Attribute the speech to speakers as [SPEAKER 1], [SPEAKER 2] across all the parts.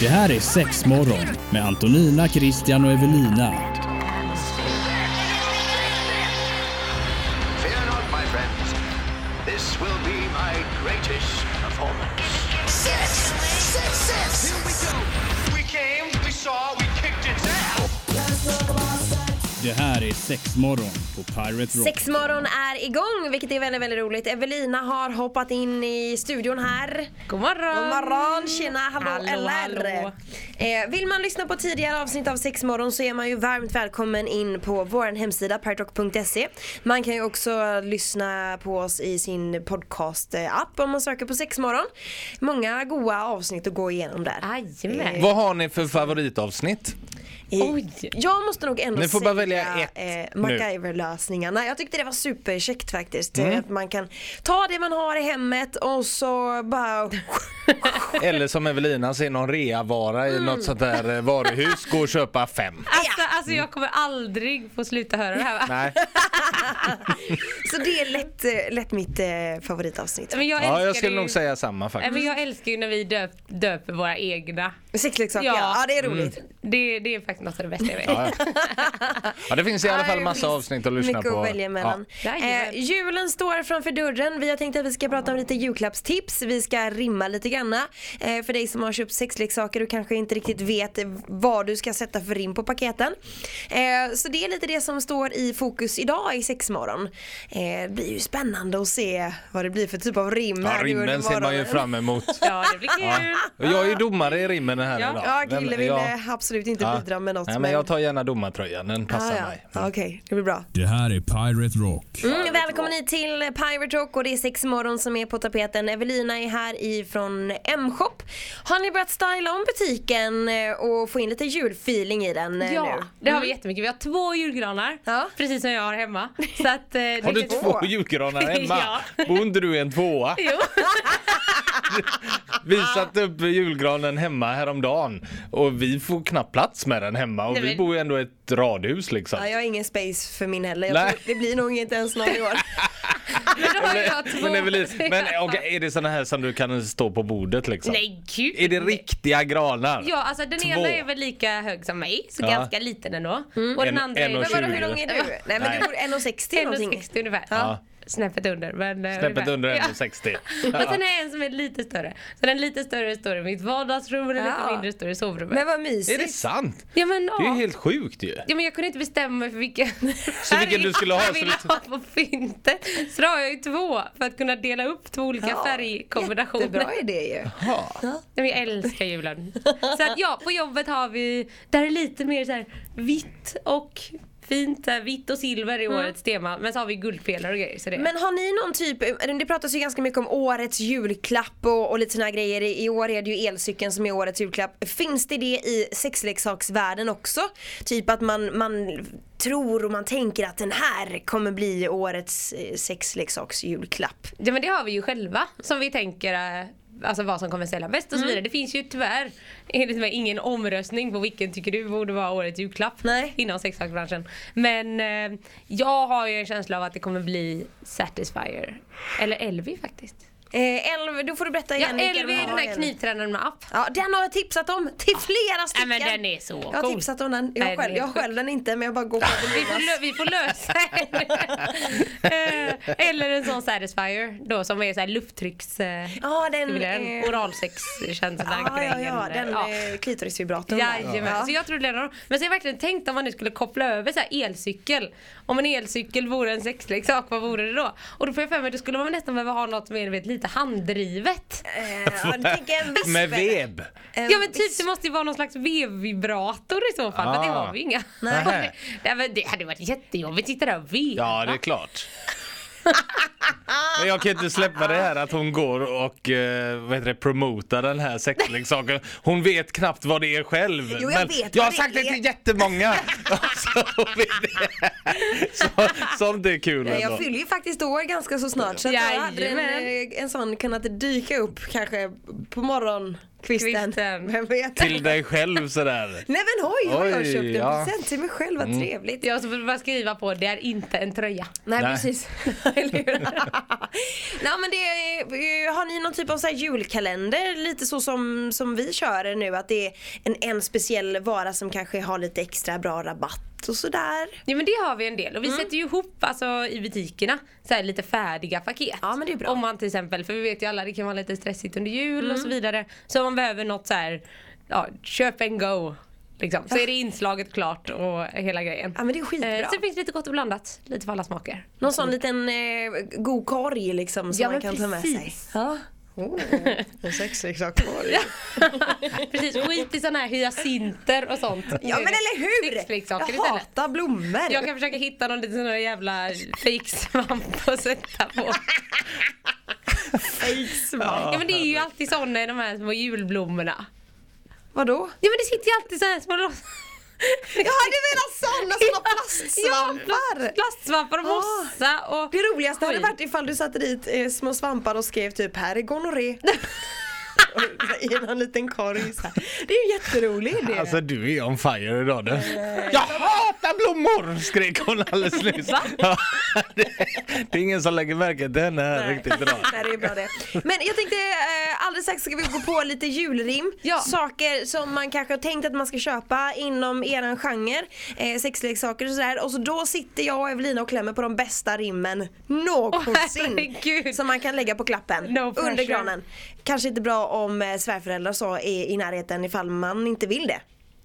[SPEAKER 1] Det här är Sexmorgon med Antonina, Christian och Evelina.
[SPEAKER 2] Fear not, my friends. This will be my greatest performance.
[SPEAKER 3] Six! Six, six! Here we go!
[SPEAKER 2] We came, we saw, we kicked its ass.
[SPEAKER 1] Det här är Sexmorgon på Pirate Rock.
[SPEAKER 4] Sexmorgon är igång vilket är väldigt, väldigt roligt. Evelina har hoppat in i studion här.
[SPEAKER 5] God morgon!
[SPEAKER 4] God morgon, tjena, hallå,
[SPEAKER 5] Hallå,
[SPEAKER 4] eller?
[SPEAKER 5] hallå.
[SPEAKER 4] Eh, vill man lyssna på tidigare avsnitt av Sexmorgon så är man ju varmt välkommen in på vår hemsida partrock.se. Man kan ju också lyssna på oss i sin podcast-app om man söker på Sexmorgon. Många goa avsnitt att gå igenom där.
[SPEAKER 5] Jajamän.
[SPEAKER 6] Vad har ni för favoritavsnitt?
[SPEAKER 4] Eh,
[SPEAKER 5] Oj.
[SPEAKER 4] Jag måste nog ändå
[SPEAKER 6] Ni får
[SPEAKER 4] säga eh,
[SPEAKER 6] bara välja ett nu.
[SPEAKER 4] MacGyver-lösningarna. Jag tyckte det var superkäckt faktiskt.
[SPEAKER 6] Mm.
[SPEAKER 4] Eh, Att man kan ta det man har i hemmet och så bara
[SPEAKER 6] Eller som Evelina ser någon reavara
[SPEAKER 4] Mm.
[SPEAKER 6] i något sånt där eh, varuhus, gå och köpa fem.
[SPEAKER 5] Alltså, alltså jag kommer aldrig få sluta höra det här. va?
[SPEAKER 6] Nej.
[SPEAKER 4] Så det är lätt, eh, lätt mitt eh, favoritavsnitt.
[SPEAKER 5] Men jag älskar
[SPEAKER 6] Ja, jag skulle
[SPEAKER 5] ju,
[SPEAKER 6] nog säga samma
[SPEAKER 5] Nej,
[SPEAKER 6] faktiskt.
[SPEAKER 5] Men jag älskar ju när vi döp, döper våra egna.
[SPEAKER 4] Sexleksaker, ja.
[SPEAKER 5] Ja.
[SPEAKER 4] ja. det är roligt.
[SPEAKER 5] Det, det är faktiskt något av det bästa jag vet.
[SPEAKER 6] Mm. Ja, ja. ja, det finns i alla
[SPEAKER 4] Ja,
[SPEAKER 6] fall
[SPEAKER 4] det
[SPEAKER 6] massa
[SPEAKER 4] finns
[SPEAKER 6] avsnitt att lyssna
[SPEAKER 4] Mycket
[SPEAKER 6] på.
[SPEAKER 4] att välja mellan.
[SPEAKER 5] Ja.
[SPEAKER 4] Eh,
[SPEAKER 5] Jajamän.
[SPEAKER 4] julen står framför dörren. Vi har tänkt att vi ska prata om lite julklappstips. Vi ska rimma lite granna. Eh, för dig som har köpt sexleksaker och kanske inte riktigt vet vad du ska sätta för rim på paketen. Eh, så det är lite det som står i fokus idag i sexmorgon. Eh, det blir ju spännande att se vad det blir för typ av rim.
[SPEAKER 6] Ja,
[SPEAKER 4] här nu under
[SPEAKER 6] rimmen ser man ju
[SPEAKER 4] morgonen.
[SPEAKER 6] fram emot.
[SPEAKER 5] Ja, det blir kul.
[SPEAKER 6] Och jag är ju domare i rimmen här
[SPEAKER 5] Ja.
[SPEAKER 6] idag.
[SPEAKER 4] Ja,
[SPEAKER 6] Den-
[SPEAKER 4] Krille ville absolut inte
[SPEAKER 6] ja.
[SPEAKER 4] bidra med något.
[SPEAKER 6] Nej, men jag tar gärna domartröjan, den passar mig.
[SPEAKER 4] Ja, Okej, det blir bra.
[SPEAKER 1] Det här är Pirate Rock.
[SPEAKER 4] Mm, välkommen hit till Pirate Rock och det är sex morgon som är på tapeten. Evelina är här ifrån M-shop. Har ni börjat styla om butiken eh, och få in lite julfeeling i den eh,
[SPEAKER 5] Ja,
[SPEAKER 4] nu?
[SPEAKER 5] det har vi jättemycket. Vi har två julgranar,
[SPEAKER 4] Ja.
[SPEAKER 5] precis som jag har hemma. Så att, eh, det
[SPEAKER 6] Har du
[SPEAKER 5] känns-
[SPEAKER 6] två julgranar hemma?
[SPEAKER 5] Ja.
[SPEAKER 6] Bor inte du i en tvåa?
[SPEAKER 5] Jo.
[SPEAKER 6] Vi satte upp julgranen hemma häromdagen och vi får knappt plats med den hemma och
[SPEAKER 5] Nej,
[SPEAKER 6] vi
[SPEAKER 5] men-
[SPEAKER 6] bor ju ändå i ett radhus liksom.
[SPEAKER 4] Ja, jag har ingen space för min heller. Jag
[SPEAKER 6] Nej.
[SPEAKER 4] tror, det blir nog inte ens någon i år.
[SPEAKER 5] Men då har jag två.
[SPEAKER 6] Men, Evelin, men okej, är det såna här som du kan stå på bordet liksom?
[SPEAKER 5] Nej gud.
[SPEAKER 6] Är det riktiga granar?
[SPEAKER 5] Ja, alltså den
[SPEAKER 6] Två.
[SPEAKER 5] ena är väl lika hög som mig, så
[SPEAKER 6] Ja.
[SPEAKER 5] ganska liten ändå.
[SPEAKER 4] Mm.
[SPEAKER 5] Och den
[SPEAKER 6] En-
[SPEAKER 5] andra
[SPEAKER 6] en och
[SPEAKER 5] är
[SPEAKER 4] Men vadå, hur
[SPEAKER 6] Tjugo.
[SPEAKER 4] lång är du? Nej, men
[SPEAKER 6] Nej.
[SPEAKER 4] du bor 1,60 någonting.
[SPEAKER 5] 1,60 ungefär.
[SPEAKER 6] Ja.
[SPEAKER 5] Snäppet under. Men, eh,
[SPEAKER 6] Snäppet
[SPEAKER 5] ungefär.
[SPEAKER 6] under
[SPEAKER 5] Ja.
[SPEAKER 6] 1,60.
[SPEAKER 5] Men sen är en som är lite större. Så den lite större står i mitt vardagsrum och den
[SPEAKER 4] Ja.
[SPEAKER 5] lite mindre står i sovrummet.
[SPEAKER 4] Men vad
[SPEAKER 6] Är det
[SPEAKER 4] mysigt.
[SPEAKER 6] sant?
[SPEAKER 5] ja, men, ja.
[SPEAKER 6] Det är ju helt sjukt ju.
[SPEAKER 5] Ja men jag kunde inte bestämma mig för vilken
[SPEAKER 6] Så vilken du skulle ha,
[SPEAKER 5] Jag
[SPEAKER 6] så
[SPEAKER 5] ville
[SPEAKER 6] du-
[SPEAKER 5] ha på fyntet Så då har jag ju två för att kunna dela upp två olika
[SPEAKER 4] Ja,
[SPEAKER 5] färgkombinationer
[SPEAKER 4] Jättebra idé ju.
[SPEAKER 5] Nej, men jag älskar julen Så att ja, på jobbet har vi Där är lite mer så här vitt och fint så här, Vitt och silver
[SPEAKER 4] Mm.
[SPEAKER 5] i årets tema Men så har vi guldpelare och grejer så det
[SPEAKER 4] Men har ni någon typ, det pratas ju ganska mycket om årets julklapp och, och lite såna här grejer. I år är det ju elcykeln som är årets julklapp. Finns det det i sexleksaksvärlden också? Typ att man, man tror och man tänker att den här kommer bli årets eh, sexleksaksjulklapp.
[SPEAKER 5] Ja men det har vi ju själva som vi tänker eh, Alltså vad som kommer sälja bäst och
[SPEAKER 4] Mm.
[SPEAKER 5] så vidare. Det finns ju tyvärr enligt mig ingen omröstning på vilken tycker du borde vara årets julklapp
[SPEAKER 4] Nej.
[SPEAKER 5] inom sexsaksbranschen. Men eh, jag har ju en känsla av att det kommer bli Satisfyer. Eller Elvi faktiskt.
[SPEAKER 4] Eh, Elv, då får du berätta
[SPEAKER 5] Ja,
[SPEAKER 4] igen. vilka
[SPEAKER 5] Elvi
[SPEAKER 4] du
[SPEAKER 5] är
[SPEAKER 4] har
[SPEAKER 5] den där
[SPEAKER 4] igen.
[SPEAKER 5] knivtränaren med app.
[SPEAKER 4] Ja, den har jag tipsat om till flera
[SPEAKER 5] Nej
[SPEAKER 4] stycken.
[SPEAKER 5] men den är så
[SPEAKER 4] jag har
[SPEAKER 5] cool.
[SPEAKER 4] tipsat om den.
[SPEAKER 5] Nej,
[SPEAKER 4] Jag
[SPEAKER 5] den är
[SPEAKER 4] själv, jag
[SPEAKER 5] helt
[SPEAKER 4] själv den inte men jag bara går på
[SPEAKER 5] Vi får, lö-
[SPEAKER 4] det.
[SPEAKER 5] vi får lösa Eh, Eller en sån Satisfyer då som är så här lufttrycks... eh,
[SPEAKER 4] Ja,
[SPEAKER 5] det är
[SPEAKER 4] den...
[SPEAKER 5] väl en
[SPEAKER 4] eh,
[SPEAKER 5] oralsexkänsla
[SPEAKER 4] Ah, Ja, ja, ja,
[SPEAKER 5] grejen.
[SPEAKER 4] den
[SPEAKER 5] Ja.
[SPEAKER 4] ja. klitorisvibratorn. där.
[SPEAKER 5] Jajamän, så jag trodde det var Men så har jag verkligen tänkt om man nu skulle koppla över så här elcykel. Om en elcykel vore en sexleksak, vad vore det då? Och då får jag för mig att då skulle man nästan behöva ha något som är du vet, lite handdrivet.
[SPEAKER 4] Eh, ja, du tänker en visp,
[SPEAKER 6] Med
[SPEAKER 4] eller?
[SPEAKER 6] veb.
[SPEAKER 4] En
[SPEAKER 5] Ja men typ
[SPEAKER 4] visp.
[SPEAKER 5] det måste ju vara någon slags vevvibrator i så fall, men det
[SPEAKER 6] Ah.
[SPEAKER 5] har vi inga.
[SPEAKER 6] Nej.
[SPEAKER 5] Nej. men det hade varit jättejobbigt, sitta där och veva.
[SPEAKER 6] Ja, det är klart. Men jag kan inte släppa det här att hon går och eh, vad heter det, promotar den här sexleksaken. Hon vet knappt vad det är själv.
[SPEAKER 4] Jo, jag vet vad
[SPEAKER 6] jag har
[SPEAKER 4] det
[SPEAKER 6] sagt det
[SPEAKER 4] är.
[SPEAKER 6] till jättemånga. Så hon vet det. Så, sånt är kul
[SPEAKER 4] Nej,
[SPEAKER 6] ändå.
[SPEAKER 4] jag fyller ju faktiskt år ganska så snart så att jag hade en,
[SPEAKER 5] Jajamän.
[SPEAKER 4] eh, en sån kunnat dyka upp kanske på morgonkvisten.
[SPEAKER 5] Kvisten.
[SPEAKER 4] Vem vet?
[SPEAKER 6] Till dig själv sådär.
[SPEAKER 4] Nej men oj, oj, jag har
[SPEAKER 6] Oj,
[SPEAKER 4] köpt en
[SPEAKER 6] ja.
[SPEAKER 4] present till mig själv,
[SPEAKER 5] Mm.
[SPEAKER 4] vad trevligt.
[SPEAKER 5] Jag ska bara skriva på, det är inte en tröja.
[SPEAKER 4] Nej,
[SPEAKER 6] Nej.
[SPEAKER 4] precis. Eller hur? Nej men det är, har ni någon typ av så här julkalender lite så som, som vi kör nu att det är en, en speciell vara som kanske har lite extra bra rabatt och sådär.
[SPEAKER 5] Ja men det har vi en del
[SPEAKER 4] Mm.
[SPEAKER 5] och vi sätter ju ihop alltså, i butikerna så här, lite färdiga paket.
[SPEAKER 4] Ja, men det är bra. Mm.
[SPEAKER 5] Om man till exempel, för vi vet ju alla det kan vara lite stressigt under jul och så vidare. Så om man behöver något så här, ja, köp and go. Liksom. Så är det inslaget klart och hela grejen.
[SPEAKER 4] Ja, men det är skitbra.
[SPEAKER 5] Eh, sen finns det lite gott och blandat, lite för alla smaker.
[SPEAKER 4] Någon sån liten eh, god korg liksom som
[SPEAKER 5] Ja,
[SPEAKER 4] man
[SPEAKER 5] men
[SPEAKER 4] kan ta med sig.
[SPEAKER 5] precis.
[SPEAKER 4] Ja.
[SPEAKER 7] En sexleksak kvar.
[SPEAKER 5] Precis, skit i såna här hyacinter och sånt.
[SPEAKER 4] ja men eller hur! Jag
[SPEAKER 5] Sexleksaker istället.
[SPEAKER 4] hatar blommor.
[SPEAKER 5] Jag kan försöka hitta någon liten sån här jävla fejksvamp att sätta på. Ja men det är ju alltid
[SPEAKER 4] eh,
[SPEAKER 5] såna i de här små julblommorna.
[SPEAKER 4] Vadå?
[SPEAKER 5] Ja men det sitter ju alltid så här små loss...
[SPEAKER 4] Ja du menar såna såna plastsvampar!
[SPEAKER 5] plastsvampar och
[SPEAKER 4] Ja.
[SPEAKER 5] mossa och...
[SPEAKER 4] Det roligaste hade
[SPEAKER 5] Oj.
[SPEAKER 4] varit ifall du satte dit eh, små svampar och skrev typ här är gonorré. Och I någon liten korg så här. Det är ju en jätterolig idé.
[SPEAKER 6] Alltså du är on fire idag du. Jag hatar blommor! Skrek hon alldeles nyss. Ja, det, det är ingen som lägger märke till henne här riktigt idag.
[SPEAKER 4] Nej, det är bra det. Men jag tänkte eh, alldeles strax ska vi gå på lite julrim.
[SPEAKER 5] Ja.
[SPEAKER 4] Saker som man kanske har tänkt att man ska köpa inom eran genre. Eh, sexleksaker och sådär. Och så då sitter jag och Evelina och klämmer på de bästa rimmen
[SPEAKER 5] Åh,
[SPEAKER 4] någonsin.
[SPEAKER 5] herregud.
[SPEAKER 4] som man kan lägga på klappen.
[SPEAKER 5] No pressure.
[SPEAKER 4] under granen. Kanske inte bra om eh, svärföräldrar så är i närheten ifall man inte vill det.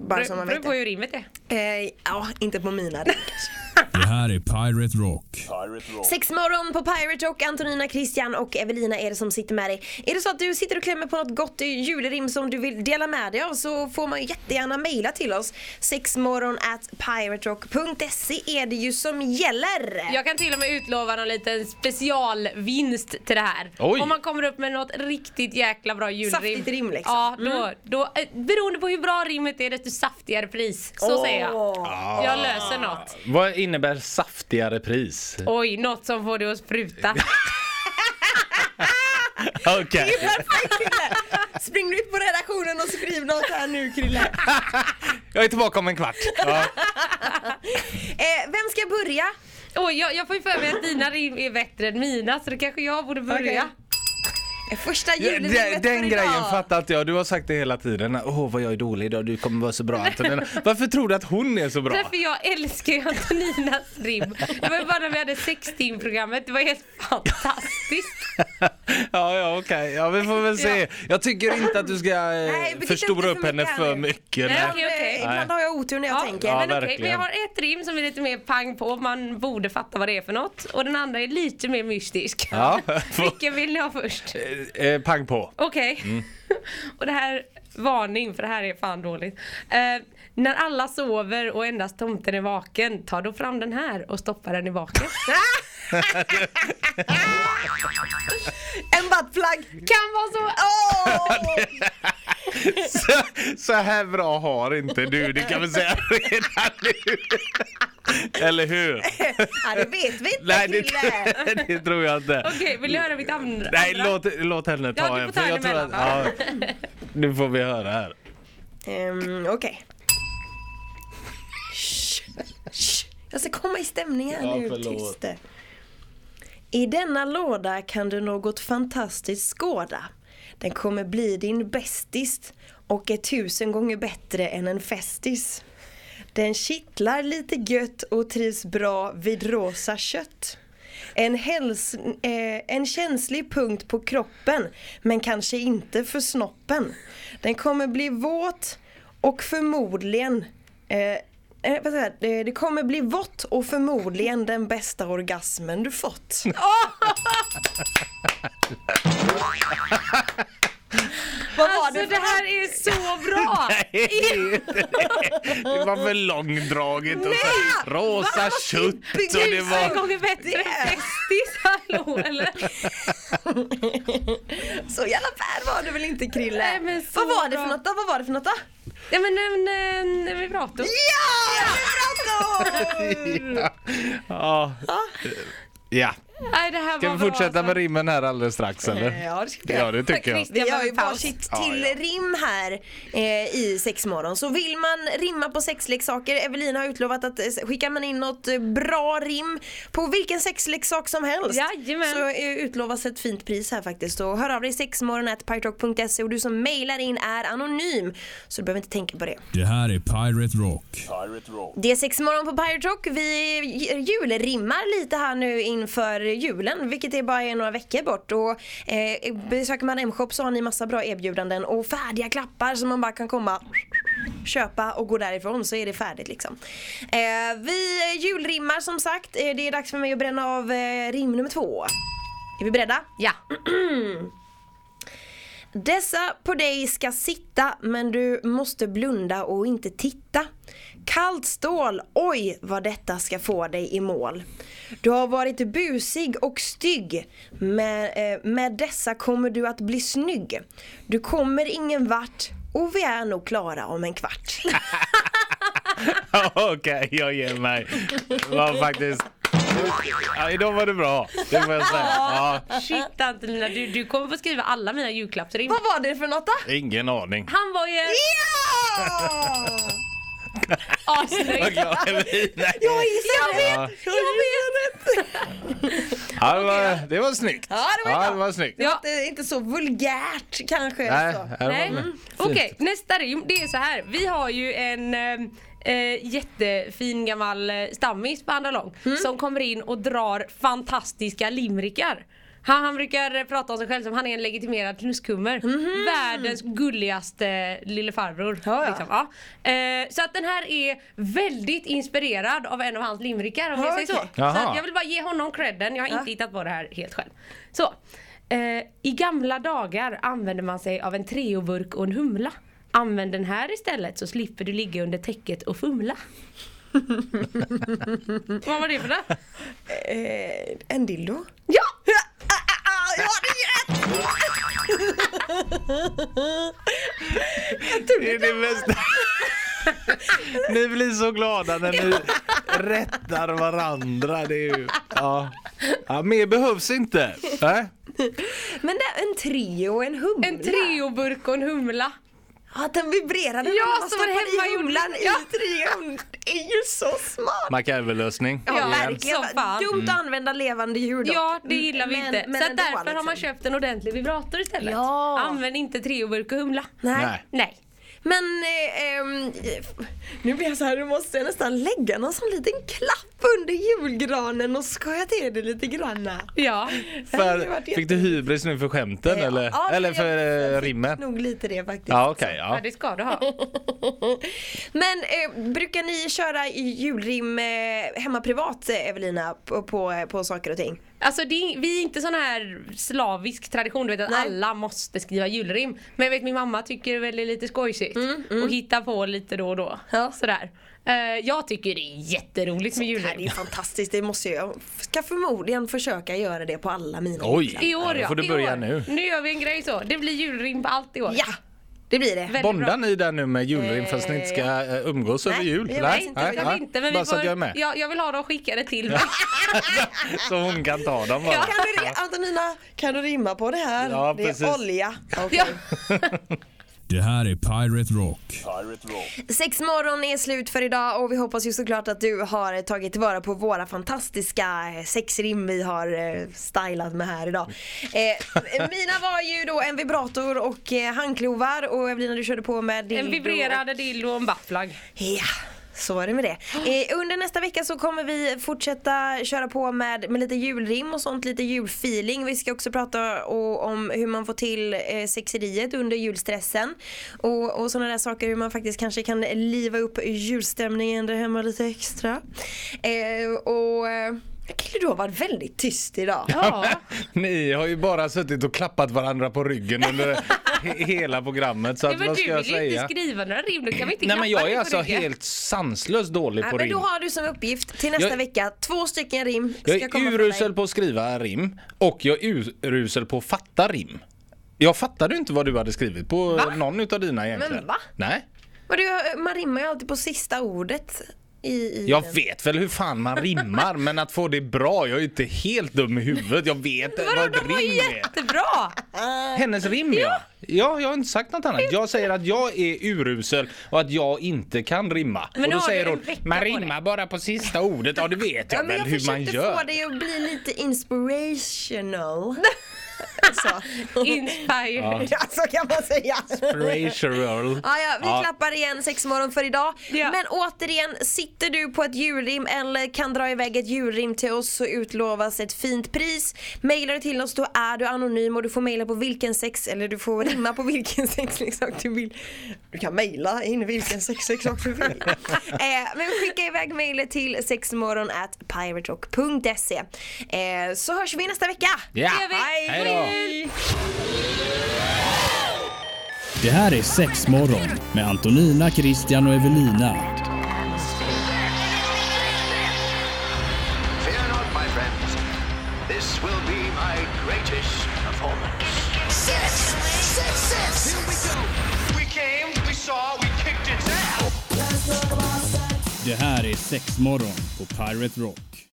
[SPEAKER 4] Bara så man
[SPEAKER 5] beror
[SPEAKER 4] vet
[SPEAKER 5] på
[SPEAKER 4] det.
[SPEAKER 5] hur rimmet är.
[SPEAKER 4] Eh, ja, inte på mina rim kanske.
[SPEAKER 1] Det här är Pirate Rock.
[SPEAKER 4] Sex morgon på Pirate Rock, Antonina, Christian och Evelina är det som sitter med dig. Är det så att du sitter och klämmer på något gott julrim som du vill dela med dig av så får man ju jättegärna mejla till oss. Sexmorgon at piraterock.se är det ju som gäller.
[SPEAKER 5] Jag kan till och med utlova någon liten specialvinst till det här.
[SPEAKER 6] Oj.
[SPEAKER 5] Om man kommer upp med något riktigt jäkla bra julrim.
[SPEAKER 4] Saftigt rim, liksom.
[SPEAKER 5] Ja, då, då, eh, beroende på hur bra rimmet är desto saftigare pris. Så säger jag.
[SPEAKER 4] Åh.
[SPEAKER 5] Jag löser något.
[SPEAKER 6] Vad innebär saftigare pris?
[SPEAKER 5] Oj, något som får dig att spruta.
[SPEAKER 6] Okej.
[SPEAKER 4] Det är perfekt Krille! Spring ut på redaktionen och skriv något här nu Krille.
[SPEAKER 6] Jag är tillbaka om en kvart. Ja.
[SPEAKER 4] Eh, vem ska börja?
[SPEAKER 5] Oj, jag, jag får ju för mig att dina rim är bättre än mina så då kanske jag borde börja.
[SPEAKER 4] Okej. Eh, Första
[SPEAKER 6] Den,
[SPEAKER 4] julrimmet för
[SPEAKER 6] den
[SPEAKER 4] idag.
[SPEAKER 6] grejen fattar inte jag. Du har sagt det hela tiden. Åh vad jag är dålig idag, du kommer vara så bra Antonina. Varför tror du att hon är så bra?
[SPEAKER 5] Därför jag älskar ju Antoninas rim. Det var ju bara när vi hade sextimprogrammet, det var helt fantastiskt.
[SPEAKER 6] ja, ja okej. Ja, vi får väl se. Jag tycker inte att du ska eh,
[SPEAKER 4] bete
[SPEAKER 6] förstora
[SPEAKER 4] dig
[SPEAKER 6] upp
[SPEAKER 4] för
[SPEAKER 6] henne
[SPEAKER 4] mycket här
[SPEAKER 6] för
[SPEAKER 4] nu.
[SPEAKER 6] mycket.
[SPEAKER 5] Nej,
[SPEAKER 6] Nej.
[SPEAKER 5] okej, okej.
[SPEAKER 4] Eh, Ibland har jag otur när jag tänker.
[SPEAKER 6] Ja,
[SPEAKER 5] men okej, men
[SPEAKER 6] verkligen.
[SPEAKER 5] jag har ett rim som är lite mer pang på, man borde fatta vad det är för något. Och den andra är lite mer mystisk.
[SPEAKER 6] Ja.
[SPEAKER 5] Vilken vill ni ha först?
[SPEAKER 6] Eh, eh, pang på.
[SPEAKER 5] Okej.
[SPEAKER 6] Mm.
[SPEAKER 5] och det här, varning för det här är fan dåligt. Eh, när alla sover och endast tomten är vaken, ta då fram den här och stoppa den i baken.
[SPEAKER 4] En buttplug!
[SPEAKER 5] kan vara så.
[SPEAKER 4] Åh!
[SPEAKER 6] Så, så här bra har inte du, det kan vi säga redan nu. Eller hur?
[SPEAKER 4] Ja, det vet vi inte
[SPEAKER 6] Nej, det,
[SPEAKER 4] Krille.
[SPEAKER 6] det tror jag inte.
[SPEAKER 5] Okej, vill du höra mitt andra?
[SPEAKER 6] Nej,
[SPEAKER 5] andra?
[SPEAKER 6] låt, låt henne
[SPEAKER 5] Ja,
[SPEAKER 6] ta
[SPEAKER 5] du får
[SPEAKER 6] en.
[SPEAKER 5] ta
[SPEAKER 6] för
[SPEAKER 5] en
[SPEAKER 6] jag tror
[SPEAKER 5] emellan,
[SPEAKER 6] att- ja, Nu får vi höra här.
[SPEAKER 4] Ehm, Okej. Shh, shh. Jag ska komma i stämning här
[SPEAKER 6] Ja,
[SPEAKER 4] nu.
[SPEAKER 6] förlåt.
[SPEAKER 4] Tyst det. I denna låda kan du något fantastiskt skåda. Den kommer bli din bästis och är tusen gånger bättre än en festis. Den kittlar lite gött och trivs bra vid rosa kött. En, häls- eh, en känslig punkt på kroppen men kanske inte för snoppen. Den kommer bli våt och förmodligen eh, eh, vad säger jag? det, det kommer bli vått och förmodligen den bästa orgasmen du fått. Vad var det
[SPEAKER 5] Alltså det här är så bra!
[SPEAKER 6] Nej, det är inte det. Det var för långdraget och så rosa kött och det
[SPEAKER 5] Tusen
[SPEAKER 6] var...
[SPEAKER 5] gånger bättre än festis, hallå eller?
[SPEAKER 4] Så jävla bär var det väl inte Krille?
[SPEAKER 5] Nej, men så
[SPEAKER 4] Vad var det för
[SPEAKER 5] bra.
[SPEAKER 4] något då? Vad var det för något då?
[SPEAKER 5] Ja men eh, en, en, en vibrator.
[SPEAKER 4] Ja! Vibrator!
[SPEAKER 6] Ja. Ja.
[SPEAKER 5] Nej, det här
[SPEAKER 6] Ska
[SPEAKER 5] var
[SPEAKER 6] vi
[SPEAKER 5] bra,
[SPEAKER 6] fortsätta
[SPEAKER 5] alltså.
[SPEAKER 6] med rimmen här alldeles strax eller?
[SPEAKER 7] Ja, det ska vi
[SPEAKER 6] Ja
[SPEAKER 7] göra.
[SPEAKER 6] det tycker jag.
[SPEAKER 4] Vi har ju
[SPEAKER 5] Paus.
[SPEAKER 4] varsitt
[SPEAKER 6] Ja,
[SPEAKER 4] till
[SPEAKER 6] ja.
[SPEAKER 4] rim här eh, i sexmorgon. Så vill man rimma på sexleksaker, Evelina har utlovat att eh, skickar man in något eh, bra rim på vilken sexleksak som helst
[SPEAKER 5] Jajamän.
[SPEAKER 4] så eh, utlovas ett fint pris här faktiskt. Och hör av dig sexmorgon.pyrock.se och du som mejlar in är anonym så du behöver inte tänka på det.
[SPEAKER 1] Det här är Pirate Rock.
[SPEAKER 4] Det är sexmorgon på Pirate Rock. Vi j- julrimmar lite här nu inför julen, vilket är bara är några veckor bort. Och, eh, besöker man M-shop så har ni massa bra erbjudanden och färdiga klappar som man bara kan komma köpa och gå därifrån så är det färdigt liksom. Eh, vi julrimmar som sagt. Eh, Det är dags för mig att bränna av eh, rim nummer två. Är vi beredda?
[SPEAKER 5] Ja.
[SPEAKER 4] Dessa på dig ska sitta men du måste blunda och inte titta. Kallt stål, oj vad detta ska få dig i mål. Du har varit busig och stygg. Med, eh, med dessa kommer du att bli snygg. Du kommer ingen vart och vi är nog klara om en kvart.
[SPEAKER 6] Okej, jag ger mig. Det var faktiskt... Ja, idag var det bra, det får jag säga. Ja,
[SPEAKER 5] Shit Antonina, du, du kommer få skriva alla mina julklappsrim.
[SPEAKER 4] vad var det för något då?
[SPEAKER 6] ingen aning.
[SPEAKER 5] Han var ju
[SPEAKER 4] Ja!
[SPEAKER 6] Vad
[SPEAKER 5] assnygg.
[SPEAKER 6] glad jag blir. Nej.
[SPEAKER 4] Jag vet! Jag vet!
[SPEAKER 6] Ja, det, var, det var snyggt.
[SPEAKER 4] Ja, det var bra.
[SPEAKER 6] ja, det var snyggt.
[SPEAKER 5] Ja.
[SPEAKER 4] Det är inte så vulgärt kanske.
[SPEAKER 6] Nej,
[SPEAKER 4] så.
[SPEAKER 6] här var
[SPEAKER 5] Nej.
[SPEAKER 6] det.
[SPEAKER 5] Mm. Okej, nästa rim. Det är så här. Vi har ju en ehm, eh, jättefin gammal eh, stammis på andra lång
[SPEAKER 4] Mm.
[SPEAKER 5] som kommer in och drar fantastiska limrikar. Han, han brukar eh, prata om sig själv som han är en legitimerad knuskummer. Världens gulligaste lille farbror.
[SPEAKER 4] Mhm. Ja, ja.
[SPEAKER 5] Liksom. Ja. Eh, så att den här är väldigt inspirerad av en av hans limrikar om
[SPEAKER 4] Ja,
[SPEAKER 5] jag säger
[SPEAKER 4] okej.
[SPEAKER 5] så. så
[SPEAKER 6] Jaha.
[SPEAKER 5] att jag vill bara ge honom credden. Jag har inte hittat på det här helt själv. Så. Eh, I gamla dagar använde man sig av en treoburk och en humla. Använd den här istället så slipper du ligga under täcket och fumla. Vad var det för det?
[SPEAKER 4] Eh, en dildo?
[SPEAKER 5] Ja!
[SPEAKER 4] Ah, ah, ah, jag hade ju rätt!
[SPEAKER 6] Det är det bästa. Ni blir så glada när ni rättar varandra. Det är ju, ja. Ja, mer behövs inte. Äh? Nej.
[SPEAKER 4] Men det är en trio och en humla.
[SPEAKER 5] En treoburk och en humla.
[SPEAKER 4] Ja, att den vibrerade
[SPEAKER 5] Ja,
[SPEAKER 4] när man
[SPEAKER 5] som en
[SPEAKER 4] stoppade i
[SPEAKER 5] hemmagjord-
[SPEAKER 4] humlan i
[SPEAKER 5] Ja.
[SPEAKER 4] trion. Det är ju så smart!
[SPEAKER 6] MacGyver-lösning.
[SPEAKER 5] Ja,
[SPEAKER 6] Igen.
[SPEAKER 4] Verkligen.
[SPEAKER 5] som fan.
[SPEAKER 4] Dumt
[SPEAKER 6] Mm.
[SPEAKER 4] att använda levande djur dock.
[SPEAKER 5] Ja, det gillar vi
[SPEAKER 4] Men-
[SPEAKER 5] inte.
[SPEAKER 4] men
[SPEAKER 5] så att
[SPEAKER 4] ändå,
[SPEAKER 5] därför har
[SPEAKER 4] liksom.
[SPEAKER 5] man köpt en ordentlig vibrator istället.
[SPEAKER 4] Ja.
[SPEAKER 5] Använd inte treoburk och humla.
[SPEAKER 4] Nej.
[SPEAKER 6] Nej.
[SPEAKER 5] Nej.
[SPEAKER 4] Men eh, ehm, nu blir jag så här, nu måste jag nästan lägga någon sån liten klapp under julgranen och skoja till det lite granna.
[SPEAKER 5] Ja.
[SPEAKER 6] För, fick du hybris nu för skämten eller,
[SPEAKER 4] Ja,
[SPEAKER 6] eller
[SPEAKER 4] jag-
[SPEAKER 6] för eh,
[SPEAKER 4] jag fick
[SPEAKER 6] rimmen?
[SPEAKER 4] Nog lite det faktiskt.
[SPEAKER 6] Ja, okej. ja.
[SPEAKER 5] ja, det ska du ha.
[SPEAKER 4] Men eh, brukar ni köra i julrim eh, hemma privat eh, Evelina på, på, eh, på saker och ting?
[SPEAKER 5] Alltså det är, vi är inte sån här slavisk tradition, du vet att
[SPEAKER 4] Nej.
[SPEAKER 5] alla måste skriva julrim. Men jag vet min mamma tycker väl det är lite skojsigt och hitta på lite då och då.
[SPEAKER 4] Mm, Ja.
[SPEAKER 5] Sådär. Eh, jag tycker det är jätteroligt med
[SPEAKER 4] Det här är
[SPEAKER 5] julrim.
[SPEAKER 4] ju fantastiskt, det måste jag. Jag ska förmodligen försöka göra det på alla mina julklappar.
[SPEAKER 5] I
[SPEAKER 6] Oj,
[SPEAKER 5] år
[SPEAKER 6] då
[SPEAKER 5] ja.
[SPEAKER 6] får du
[SPEAKER 5] i
[SPEAKER 6] börja
[SPEAKER 5] år.
[SPEAKER 6] nu.
[SPEAKER 5] Nu gör vi en grej så. Det blir julrim på allt i år.
[SPEAKER 4] Ja, det blir det.
[SPEAKER 5] Väldigt bra.
[SPEAKER 6] Bondar ni där nu med julrim fast ni inte ska eh, umgås över
[SPEAKER 4] Nej,
[SPEAKER 6] jul?
[SPEAKER 4] jag vet
[SPEAKER 5] Nej, jag vill inte men vi
[SPEAKER 6] Bara så att jag är
[SPEAKER 5] får,
[SPEAKER 6] med.
[SPEAKER 5] ja, jag vill ha dem skickade till mig.
[SPEAKER 6] Så hon kan ta dem bara.
[SPEAKER 4] Kan du, ri- Antonina, kan du rimma på det här?
[SPEAKER 6] Ja,
[SPEAKER 4] det
[SPEAKER 6] precis.
[SPEAKER 4] är olja.
[SPEAKER 5] Ja.
[SPEAKER 1] Det här är Pirate Rock.
[SPEAKER 4] Sex morgon är slut för idag och vi hoppas ju såklart att du har tagit tillvara på våra fantastiska sexrim vi har eh, stylat med här idag. Eh, mina var ju då en vibrator och eh, handklovar och Evelina du körde på med
[SPEAKER 5] En
[SPEAKER 4] dildo.
[SPEAKER 5] vibrerande dildo och en buttplug.
[SPEAKER 4] Ja, så var det med det. Eh, under nästa vecka så kommer vi fortsätta köra på med, med lite julrim och sånt, lite julfeeling. Vi ska också prata o- om hur man får till eh, sexeriet under julstressen. Och, och sådana där saker, hur man faktiskt kanske kan liva upp julstämningen där hemma lite extra. Eh, och eh, Kille, du har varit väldigt tyst idag.
[SPEAKER 5] Ja.
[SPEAKER 6] Ni har ju bara suttit och klappat varandra på ryggen under he- hela programmet. Så
[SPEAKER 5] Ja,
[SPEAKER 6] att,
[SPEAKER 5] men
[SPEAKER 6] vad
[SPEAKER 5] du
[SPEAKER 6] ska jag
[SPEAKER 5] vill ju inte
[SPEAKER 6] säga?
[SPEAKER 5] skriva några rim, då kan vi inte
[SPEAKER 6] Nej men
[SPEAKER 5] klappa
[SPEAKER 6] jag
[SPEAKER 5] dig
[SPEAKER 6] är
[SPEAKER 5] på
[SPEAKER 6] alltså
[SPEAKER 5] ryggen.
[SPEAKER 6] helt sanslöst dålig
[SPEAKER 4] Ja,
[SPEAKER 6] på
[SPEAKER 4] men då
[SPEAKER 6] rim.
[SPEAKER 4] har du som uppgift till nästa
[SPEAKER 6] Jag-
[SPEAKER 4] vecka, två stycken rim ska
[SPEAKER 6] Jag är
[SPEAKER 4] komma från dig.
[SPEAKER 6] urusel på att skriva rim och jag är urusel på att fatta rim. Jag fattade ju inte vad du hade skrivit på någon utav dina egentligen.
[SPEAKER 4] va?
[SPEAKER 6] Nej.
[SPEAKER 4] Men du, man rimmar ju alltid på sista ordet. i, i
[SPEAKER 6] Jag vet väl hur fan man rimmar men att få det bra, jag är ju inte helt dum i huvudet. Jag vet vad
[SPEAKER 5] Vadå,
[SPEAKER 6] ett
[SPEAKER 5] de var
[SPEAKER 6] rim är.
[SPEAKER 5] jättebra!
[SPEAKER 6] Hennes rim ja. ja! Jag har inte sagt något annat. Jag säger att jag är urusel och att jag inte kan rimma.
[SPEAKER 5] Men
[SPEAKER 6] och
[SPEAKER 5] nu
[SPEAKER 6] då
[SPEAKER 5] har
[SPEAKER 6] säger
[SPEAKER 5] du en
[SPEAKER 6] hon,
[SPEAKER 5] vecka
[SPEAKER 6] man
[SPEAKER 5] på
[SPEAKER 6] rimmar bara på sista ordet. Ja det vet jag
[SPEAKER 4] Ja, men
[SPEAKER 6] väl
[SPEAKER 4] jag
[SPEAKER 6] hur man
[SPEAKER 4] försökte få
[SPEAKER 6] gör.
[SPEAKER 4] dig att bli lite inspirational. Alltså.
[SPEAKER 7] Så.
[SPEAKER 5] Inspire.
[SPEAKER 7] Ja, så kan man säga.
[SPEAKER 6] Inspirational.
[SPEAKER 4] Ah, Ja, ja, vi
[SPEAKER 6] Ja.
[SPEAKER 4] klappar igen sexmorgon för idag.
[SPEAKER 5] Ja.
[SPEAKER 4] Men återigen, sitter du på ett julrim eller kan dra iväg ett julrim till oss så utlovas ett fint pris. Mailar du till oss då är du anonym och du får mejla på vilken sex eller du får rimma på vilken sexleksak du vill.
[SPEAKER 7] Du kan mejla in vilken sexleksak du vill.
[SPEAKER 4] Eh, men skicka iväg mejlet till sexmorgon at piraterock.se. Eh, så hörs vi nästa vecka!
[SPEAKER 6] Ja.
[SPEAKER 5] Det är vi.
[SPEAKER 6] Hej då.
[SPEAKER 1] Det här är sexmorgon med Antonina, Christian och Evelina.
[SPEAKER 2] Fear not, my friends. This will be my greatest performance.
[SPEAKER 3] Six, six, six. Here we go.
[SPEAKER 2] We came, we saw, we kicked its ass.
[SPEAKER 1] Det här är sexmorgon på Pirate Rock.